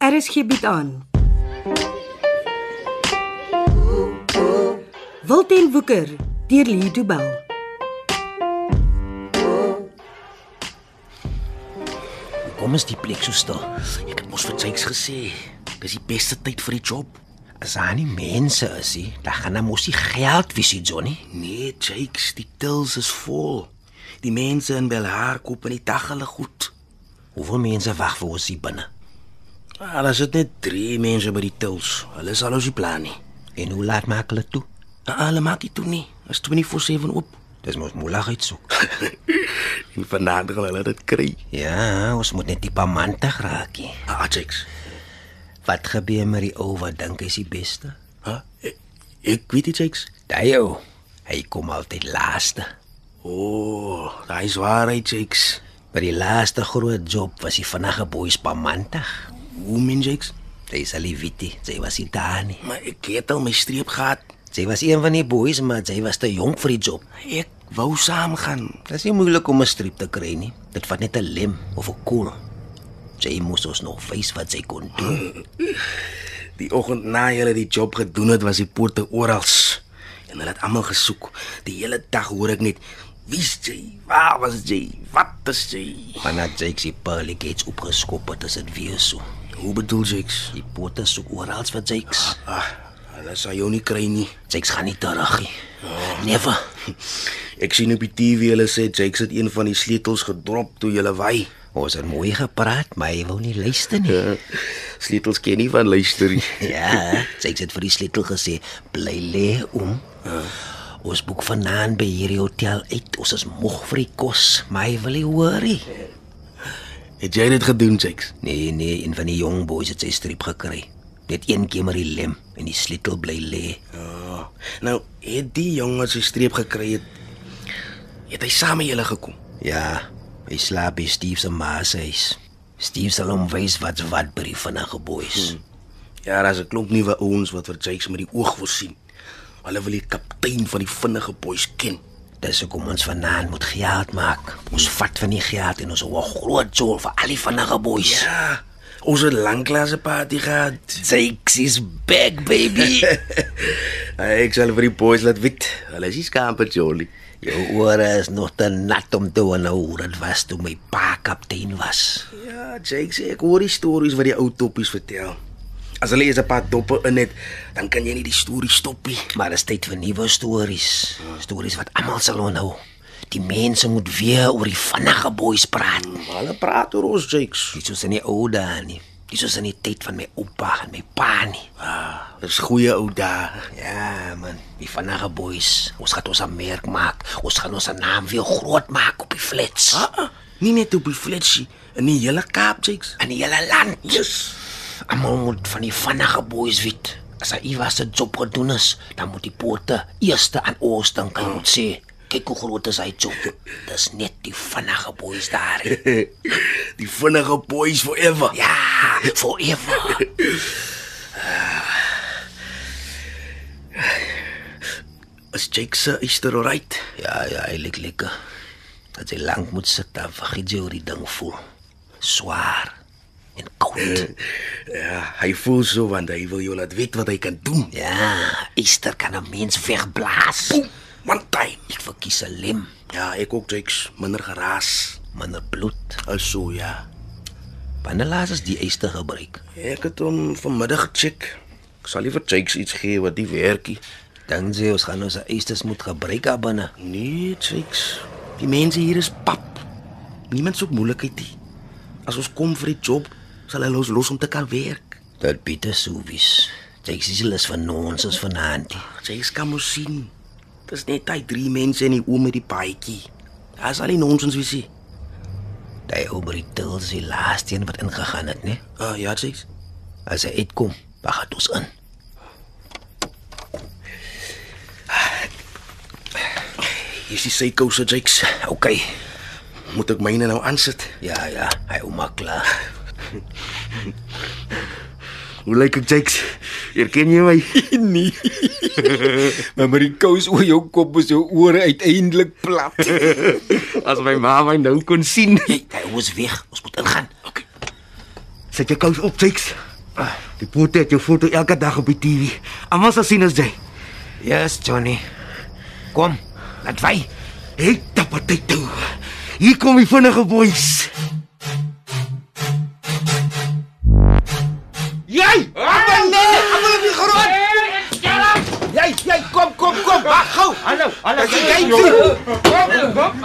RSG bied Er aan. Wilten Woeker deur Lee Du Bell. Kom is die plek so stil. Ek het mos vir Jakes gesê, dis die beste tyd vir die job. As daar nie mense is nie, dan gaan daar mos nie geld wees nie, Johnny. Nee, Jakes, die tills is vol. Die mense in Belhar koop in die dag hulle goed. Hoeveel mense wag vir ons hier binne? Ah, daar sit net 3 mense by die tills. Hulle is al ons die plan nie. Nee. En hoe laat maak hulle toe? Ah, hulle maak dit toe nie. Is 24/7 oop. Dis mos moeilikheid soek. En vanaand gaan hulle dit kry. Ja, ons moet net die pamante raak hier. Ah, Jakes. Wat gebeur met die ou wat dink hy's die beste? Ha? Ek, E, ek weet dit, Jakes. Daai ou, hy kom altyd laaste. O, oh, daai is waarheid, Jakes. By die laaste groot job was hy vinnige boeis pamante. Hoe min Jakes? Hy is al die witie, hy was nie daar nie. Maar ek het al my streep gehad. Sy was een van die boeis, maar sy was te jonk vir die job. Ek wou saam gaan. Dit is nie moeilik om 'n streep te kry nie. Dit vat net 'n lem of 'n koel. Sy moes ons nog wys wat sy kon doen. Die oggend na hulle die job gedoen het, was die poorte oral en hulle het almal gesoek. Die hele dag hoor ek net wie's jy? Waar was jy? Wat is jy? Maar nadat Jake sy pearly gates opgeskop het, is dit weer so. Hoe bedoel Jakes? Die poorte soek oral vir Jakes. Ah, hulle sal jou nie kry nie. Jakes gaan nie terug nie. Never. Ek sien op die TV hulle sê Jakes het een van die sleutels gedrop toe jy wy. Ons het mooi gepraat, maar hy wou nie luister nie. Sleutels ken nie van luister nie. Ja, Jakes het vir die sleutel gesê, "Bly lê om." Ons boek vanaand by hierdie hotel uit. Ons is moeg vir die kos, maar hy wil nie hoor nie. Het jy dit gedoen, Jakes? Nee, nee, een van die jong boys het sy streep gekry. Net een keer met die lem en die sleutel bly lê. Ja. Nou, het die jongen sy streep gekry het. Het hy saam met julle gekom? Ja, hy slaap by Steve se ma se huis. Steve sal hom wys wat wat by die vinnige boys. Hmm. Ja, daar's 'n klomp nuwe ouens wat vir Jakes met die oog wil sien. Hulle wil die kaptein van die vinnige boys ken. Dis hoekom ons vanaand moet geld maak. Ons vat van die geld en ons hou 'n groot jol vir al die vinnige boys. Ja. Ons het lanklaas 'n party gehad. Jakes is back baby. Nou, ek sal vir die boys laat weet. Hulle is nie skaam vir Jolly. Jou ore is nog te nat om te hoor hoe dit was toe my pa kaptein was. Ja, Jake sê ek hoor die stories wat die ou toppies vertel. As hulle eers 'n paar doppe in het, dan kan jy nie die storie stop nie. Maar dis tyd vir nuwe stories. Stories wat almal sal onthou. Die mense moet weer oor die vinnige boys praat. Maar Hulle praat oor ons Jakes. Nie soos in die ou dae nie. Nie soos in die tyd van my oupa en my pa nie. Ah, dis goeie ou dae. Ja man, die vinnige boys. Ons gaan ons 'n merk maak. Ons gaan ons naam weer groot maak op die flats. Ah, ah, nie net op die fletsie in die hele Kaap Jakes. in die hele land. Yes. Almal moet van die vinnige boeis weet. As hy iewers 'n job gedoen is, dan moet die poorte eerste aan ons dink en moet sê, kyk hoe groot is hy job. Dis net die vinnige boeis daar. die vinnige boys forever. Ja, forever. Is Jake se eister alright? Ja, ja, hy lyk lekker. Dat hy lank moet sit, dan vergeet jy hoe die ding voel. Swaar en koud. Ja, hy voel so want hy wil jou laat weet wat hy kan doen. Ja, eister kan 'n mens wegblaas. One time. Ek verkies 'n lem, Ja, ek ook Jakes, minder geraas. minder bloed. Is so ja. Wanneer laas is die eister gebruik? Ek het hom vanmiddag gecheck. Ek sal liever Jakes iets gee wat die werkie. Dan sê ons gaan ons eisters moet gebruik daar binne. Nee, Jakes. Die mense hier is pap. Niemand soek moeilikheid nie. As ons kom vir die job, sal hulle ons los om te kan werk. Dit Pieter Souwies. Jy sê hulle is van ons is vanaand. Jakes kan mos sien. Dis net daai drie mense in die oom met die paadjie. Daar's al die nonsens wie sien. Daai ou by die tils die laaste een wat ingegaan het, né? Ah, ja, Jakes. As hy uitkom, dan gaan ons in. Hier is die seikouse Jakes. OK. Moet ek myne nou aansit? Ja, ja, hy ouma klaar. Hoe lyk ek, Jakes? Herken jy my? Maar met die kous oor jou kop is jou ore uiteindelik plat. As my ma my nou kon sien. Hy ons weg. Ons moet ingaan. Sit jou kous op, Jakes. Die poorte het jou foto elke dag op die TV. Almal sal sien as jy. Yes, Johnny. Kom, laat wy. Hey, tapatay toe. Hier kom die vinnige boeis. Jy! Amanda, amanda die grond. Jy, jy kom, kom, kom, wag gou. Hallo, hallo. Jy kyk toe.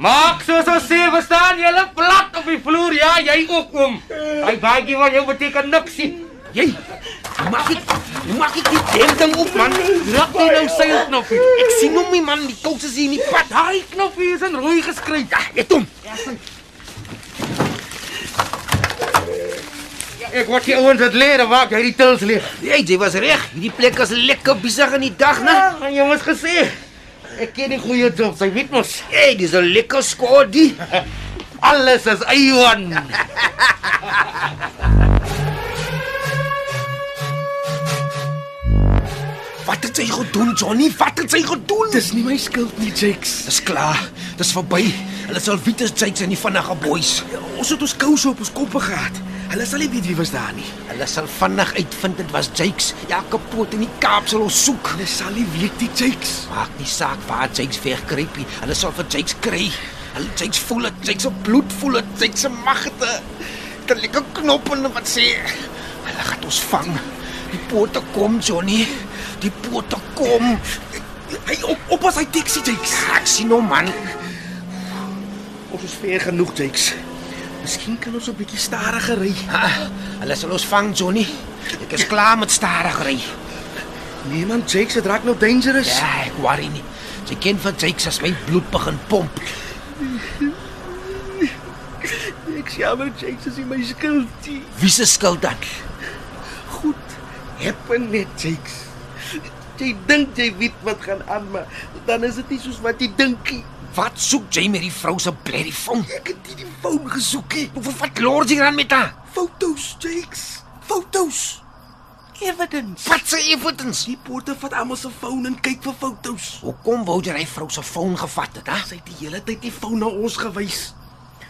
Maak soos ons sê, verstaan jy? Hulle plat op die vloer. Ja, jy ook oom. Eh. Hy baadjie van jou beteken niks nie. Jy Mag ek mag ek die ding dan op man? druk nie nou sy knoppie. Ek sien hom nie man, die kous is hier in die pad. Daai knoppie is in rooi Ja, geskryf. Ah, Ek hom. Ek wat die ouens het leer waar hy die tils lê. Jy, jy was reg. Hierdie plek is lekker besig in die dag, né? Ja, jy mos gesê. Ek ken die goeie job, sy weet mos. Hey, dis 'n lekker skoor die. Alles is eiwan. Wat het sy gedoen, Johnny? Wat het sy gedoen? Dis nie my skuld nie, Jakes. Dis klaar. Dis verby. Hulle sal Vitus Jakes en die vinnige boys. Ons het ons kouse op ons koppe gehad. Hulle sal nie weet wie was daar nie. Hulle sal vinnig uitvind dit was Jakes. Elke poot in die Kaap sal ons soek. Hulle sal nie weet die Jakes. Maak nie saak waar Jakes wegkruip nie. Hulle sal vir Jakes kry. Hulle Jakes voel dit, Jakes se bloed voel dit, Jakes se magte. Dit lê 'n knop en wat sê? Hulle gaan ons vang. Die poorte kom, Johnny. Die poorte kom. Hey, op op as hy taxi Jakes. Ek sien hom man. Ons is ver genoeg Jakes. Miskien kan ons 'n bietjie stadiger ry. Ha, hulle sal ons vang, Johnny. Ek is klaar met stadig ry. Nee man, Jakes, dit raak nou dangerous. Ja, ek worry nie. Sy ken van Jakes as my bloed begin pomp. Ek jammer Jakes, dis nie my skuld nie. Wie se skuld dan? Goed. Happen net Jakes. Jy dink jy weet wat gaan aan, maar dan is dit nie soos wat jy dink nie. Wat soek jy met die vrou se blerrie foon? Ek het nie die foon gesoek nie. Hoe wat lords hier aan met haar? Fotos Jakes. Fotos. Evidence. Wat se evidence? Die poorte vat almal se foon en kyk vir fotos. Hoekom wou jy hy vrou se foon gevat het, hè? Sy het die hele tyd die foon na ons gewys.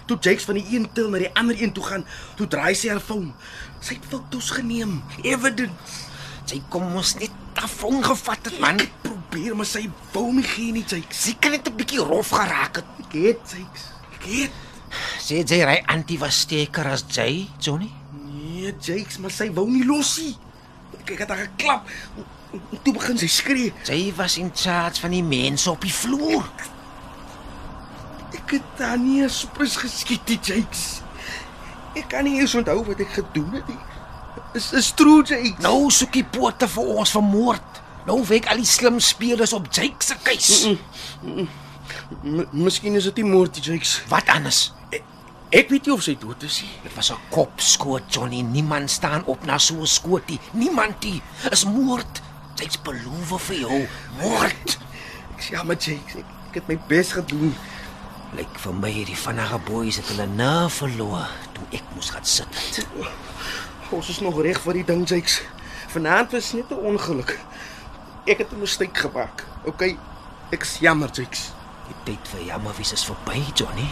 Toe Jakes van die een til na die ander een toe gaan, toe draai sy haar foon. Sy het fotos geneem, evidence. Sy kom ons net ta foon gevat het, man. Ek probeer maar sy wou my gee nie, Jakes. Sy kan net 'n bietjie rof geraak het. Ek het Jakes. Ek het. Sê jy hy antie was steker as jy, Johnny? Nee, Jakes, maar sy wou nie los nie. Ek ek het haar geklap. En- en Toe begin sy skree. Jy was in charge van die mense op die vloer. Ek het haar nie eens prins geskiet nie, Jakes. Ek kan nie eens onthou wat ek gedoen het nie. Is is true, Jakes. Nou soek die poorte vir ons vermoord. Nou wek al die slim spelers op Jake se keus. M miskien is dit nie moord, nie, Jakes. Wat anders? Ek weet nie of sy dood is nie. Dit was 'n kopskoot, Johnny. Niemand staan op na so 'n skootie. Niemand nie. Is moord. Jy's beloof vir jou. Moord. Ek sê ja, maar Jakes, ek, ek het my bes gedoen. Lyk vir my hierdie vinnige boeis het hulle nerve verloor toe ek moes gaan sit het. Ons is nog reg vir die ding, Jakes. Vanaand was net 'n ongeluk. Ek het 'n mistake gemaak. OK, ek is jammer, Jakes. Die tyd vir jammerwies is verby, Johnny.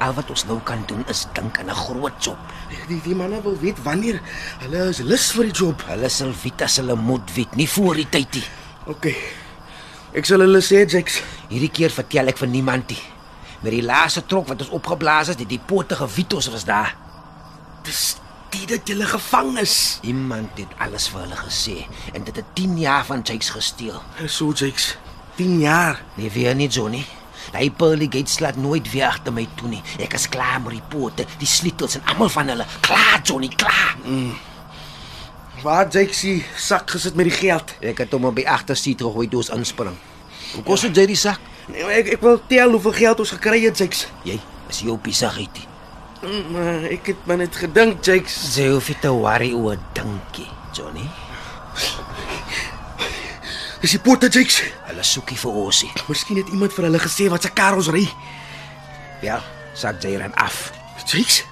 Al wat ons nou kan doen is dink aan 'n groot job. Die die manne wil weet wanneer hulle is lus vir die job. Hulle sal weet as hulle moet weet, nie voor die tyd nie. OK. Ek sal hulle sê, Jakes. Hierdie keer vertel ek vir niemand nie. Met die laaste trok wat ons opgeblaas het, het die potige Vitos was daar. Dis dit dat jy gevang is. Iemand het alles vir hulle gesê en dit het 10 jaar van Jakes gesteel. So, Jakes. 10 jaar. Nee, weer nie Johnny. Daai Pearly Gates laat nooit weer agter my toe nie. Ek is klaar met die pote, die sleutels en almal van hulle. Klaar Johnny, klaar. Waar Jakes se sak gesit met die geld? Ek het hom op die agterste teruggooi toe ons inspring. Hoe kos dit jy die sak? Nee, maar Ek ek wil tel hoeveel geld ons gekry het, Jakes. Jy is jy op die saggie. Mm, maar Ek het maar net gedink, Jakes. Jy hoef nie te worry oor dinkie, Johnny. Dis die poorte, Jakes. Hulle soekie vir ons. hier. Miskien het iemand vir hulle gesê wat se kar ons ry. Ja, sak jy ran af. Jakes,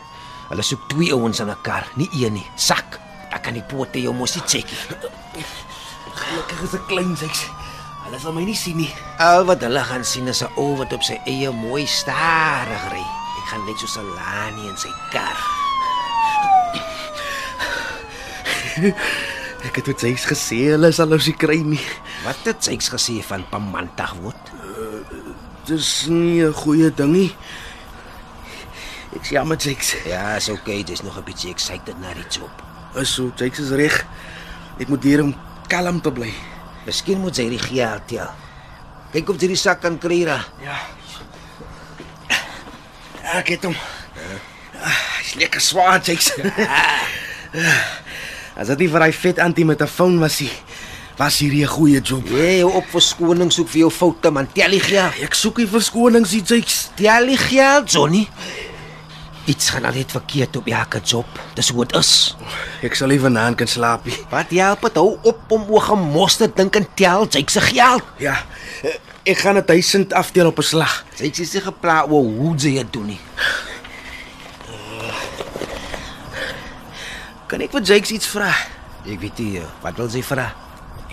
Hulle soek twee ouens aan 'n kar, nie een nie. Sak. Dan kan die pote jou mos nie check nie. gelukkig is 'n klein Jakes. Hulle sal my nie sien nie. Al wat hulle gaan sien is 'n ou wat op sy eie mooi stadig ry. Ek gaan net so Salani in sy kar. Ek het dit sês gesê hulle sal ons nie kry nie. Wat het Jakes gesê van Pamandag word? Dis nie 'n goeie ding nie. Ek sê maar Jakes. Ja, is okay, dis nog 'n bietjie excited na die job. Is so Jakes is reg. Ek moet hier om kalm te bly. Miskien moet sy hierdie geld tel. Kyk of jy die sak kan kry ra. Ja. Ek het hom. Ah, Hy's lekker swaar Jakes. As dit nie vir hy vet anti met 'n foon was hy was hierdie 'n goeie job. Jy hou op verskoning soek vir jou foute man. Tel die geld. Ek soek nie verskonings nie Jakes. Tel die geld, Johnny. Iets gaan al net verkeerd op elke job. Dis hoe dit is. Ek sal nie vanaand kan slaap nie. Wat help dit hou op om oor gemos te dink en tel Jakes se geld? Ja. Ek gaan dit duisend afdeel op 'n slag. Jakes is nie gepla oor hoe jy dit doen nie. Kan ek vir Jakes iets vra? Ek weet nie eh, wat wil sy vra.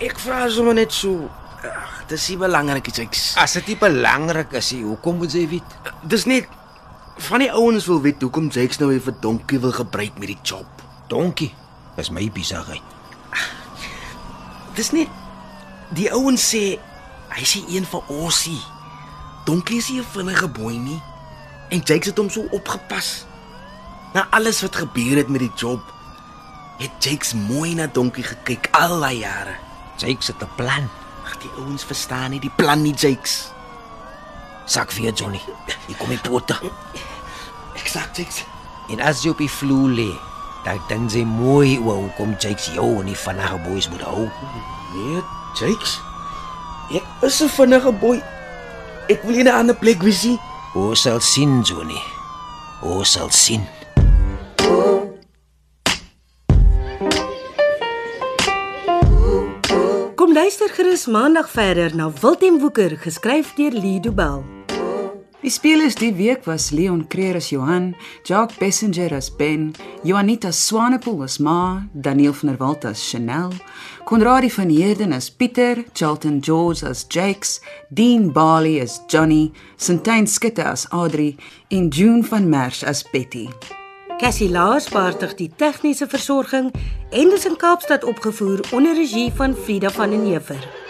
Ek vra sommer net so. Ag, dis nie belangrik iets ek. As dit nie belangrik is, nie, hoekom moet sy weet? Dis net van die ouens wil weet hoekom Jakes nou weer vir donkie wil gebruik met die job. Donkie, dis my besigheid. Dis net die ouens sê hy sê een van ons nie. Donkie is nie 'n vinnige boei nie. En Jakes het hom so opgepas. Na alles wat gebeur het met die job, het Jakes mooi na Donkie gekyk al daai jare. Jakes het 'n plan. Ag, die ouens verstaan nie die plan nie, Jakes. Sak vir jou, Johnny. Ek kom nie pote. Ek sê Jakes, En as jy op die vloer lê, dan dink jy mooi oor hoekom Jakes jou en die vinnige boeis moet hou. Nee, Jakes. Ek is 'n vinnige boy. Ek wil nie 'n ander plek wees nie. Ons sal sien, Johnny. Ons sal sien. Kom luister gerus maandag verder na Wiltem Woeker geskryf deur Lido Bell. Die spelers die week was Leon Creer as Johan, Jacques Passenger as Ben, Juanita Swanepoel as Ma, Daniel van der Walt as Chanel, Konradi van Heerden as Pieter, Charlton George as Jakes, Dean Bali as Johnny, Sintyn Skutte as Adri en June van Merch as Betty. Cassie Lars beheerdig die tegniese versorging en dit is in Kaapstad opgevoer onder regie van Frida van den Heever.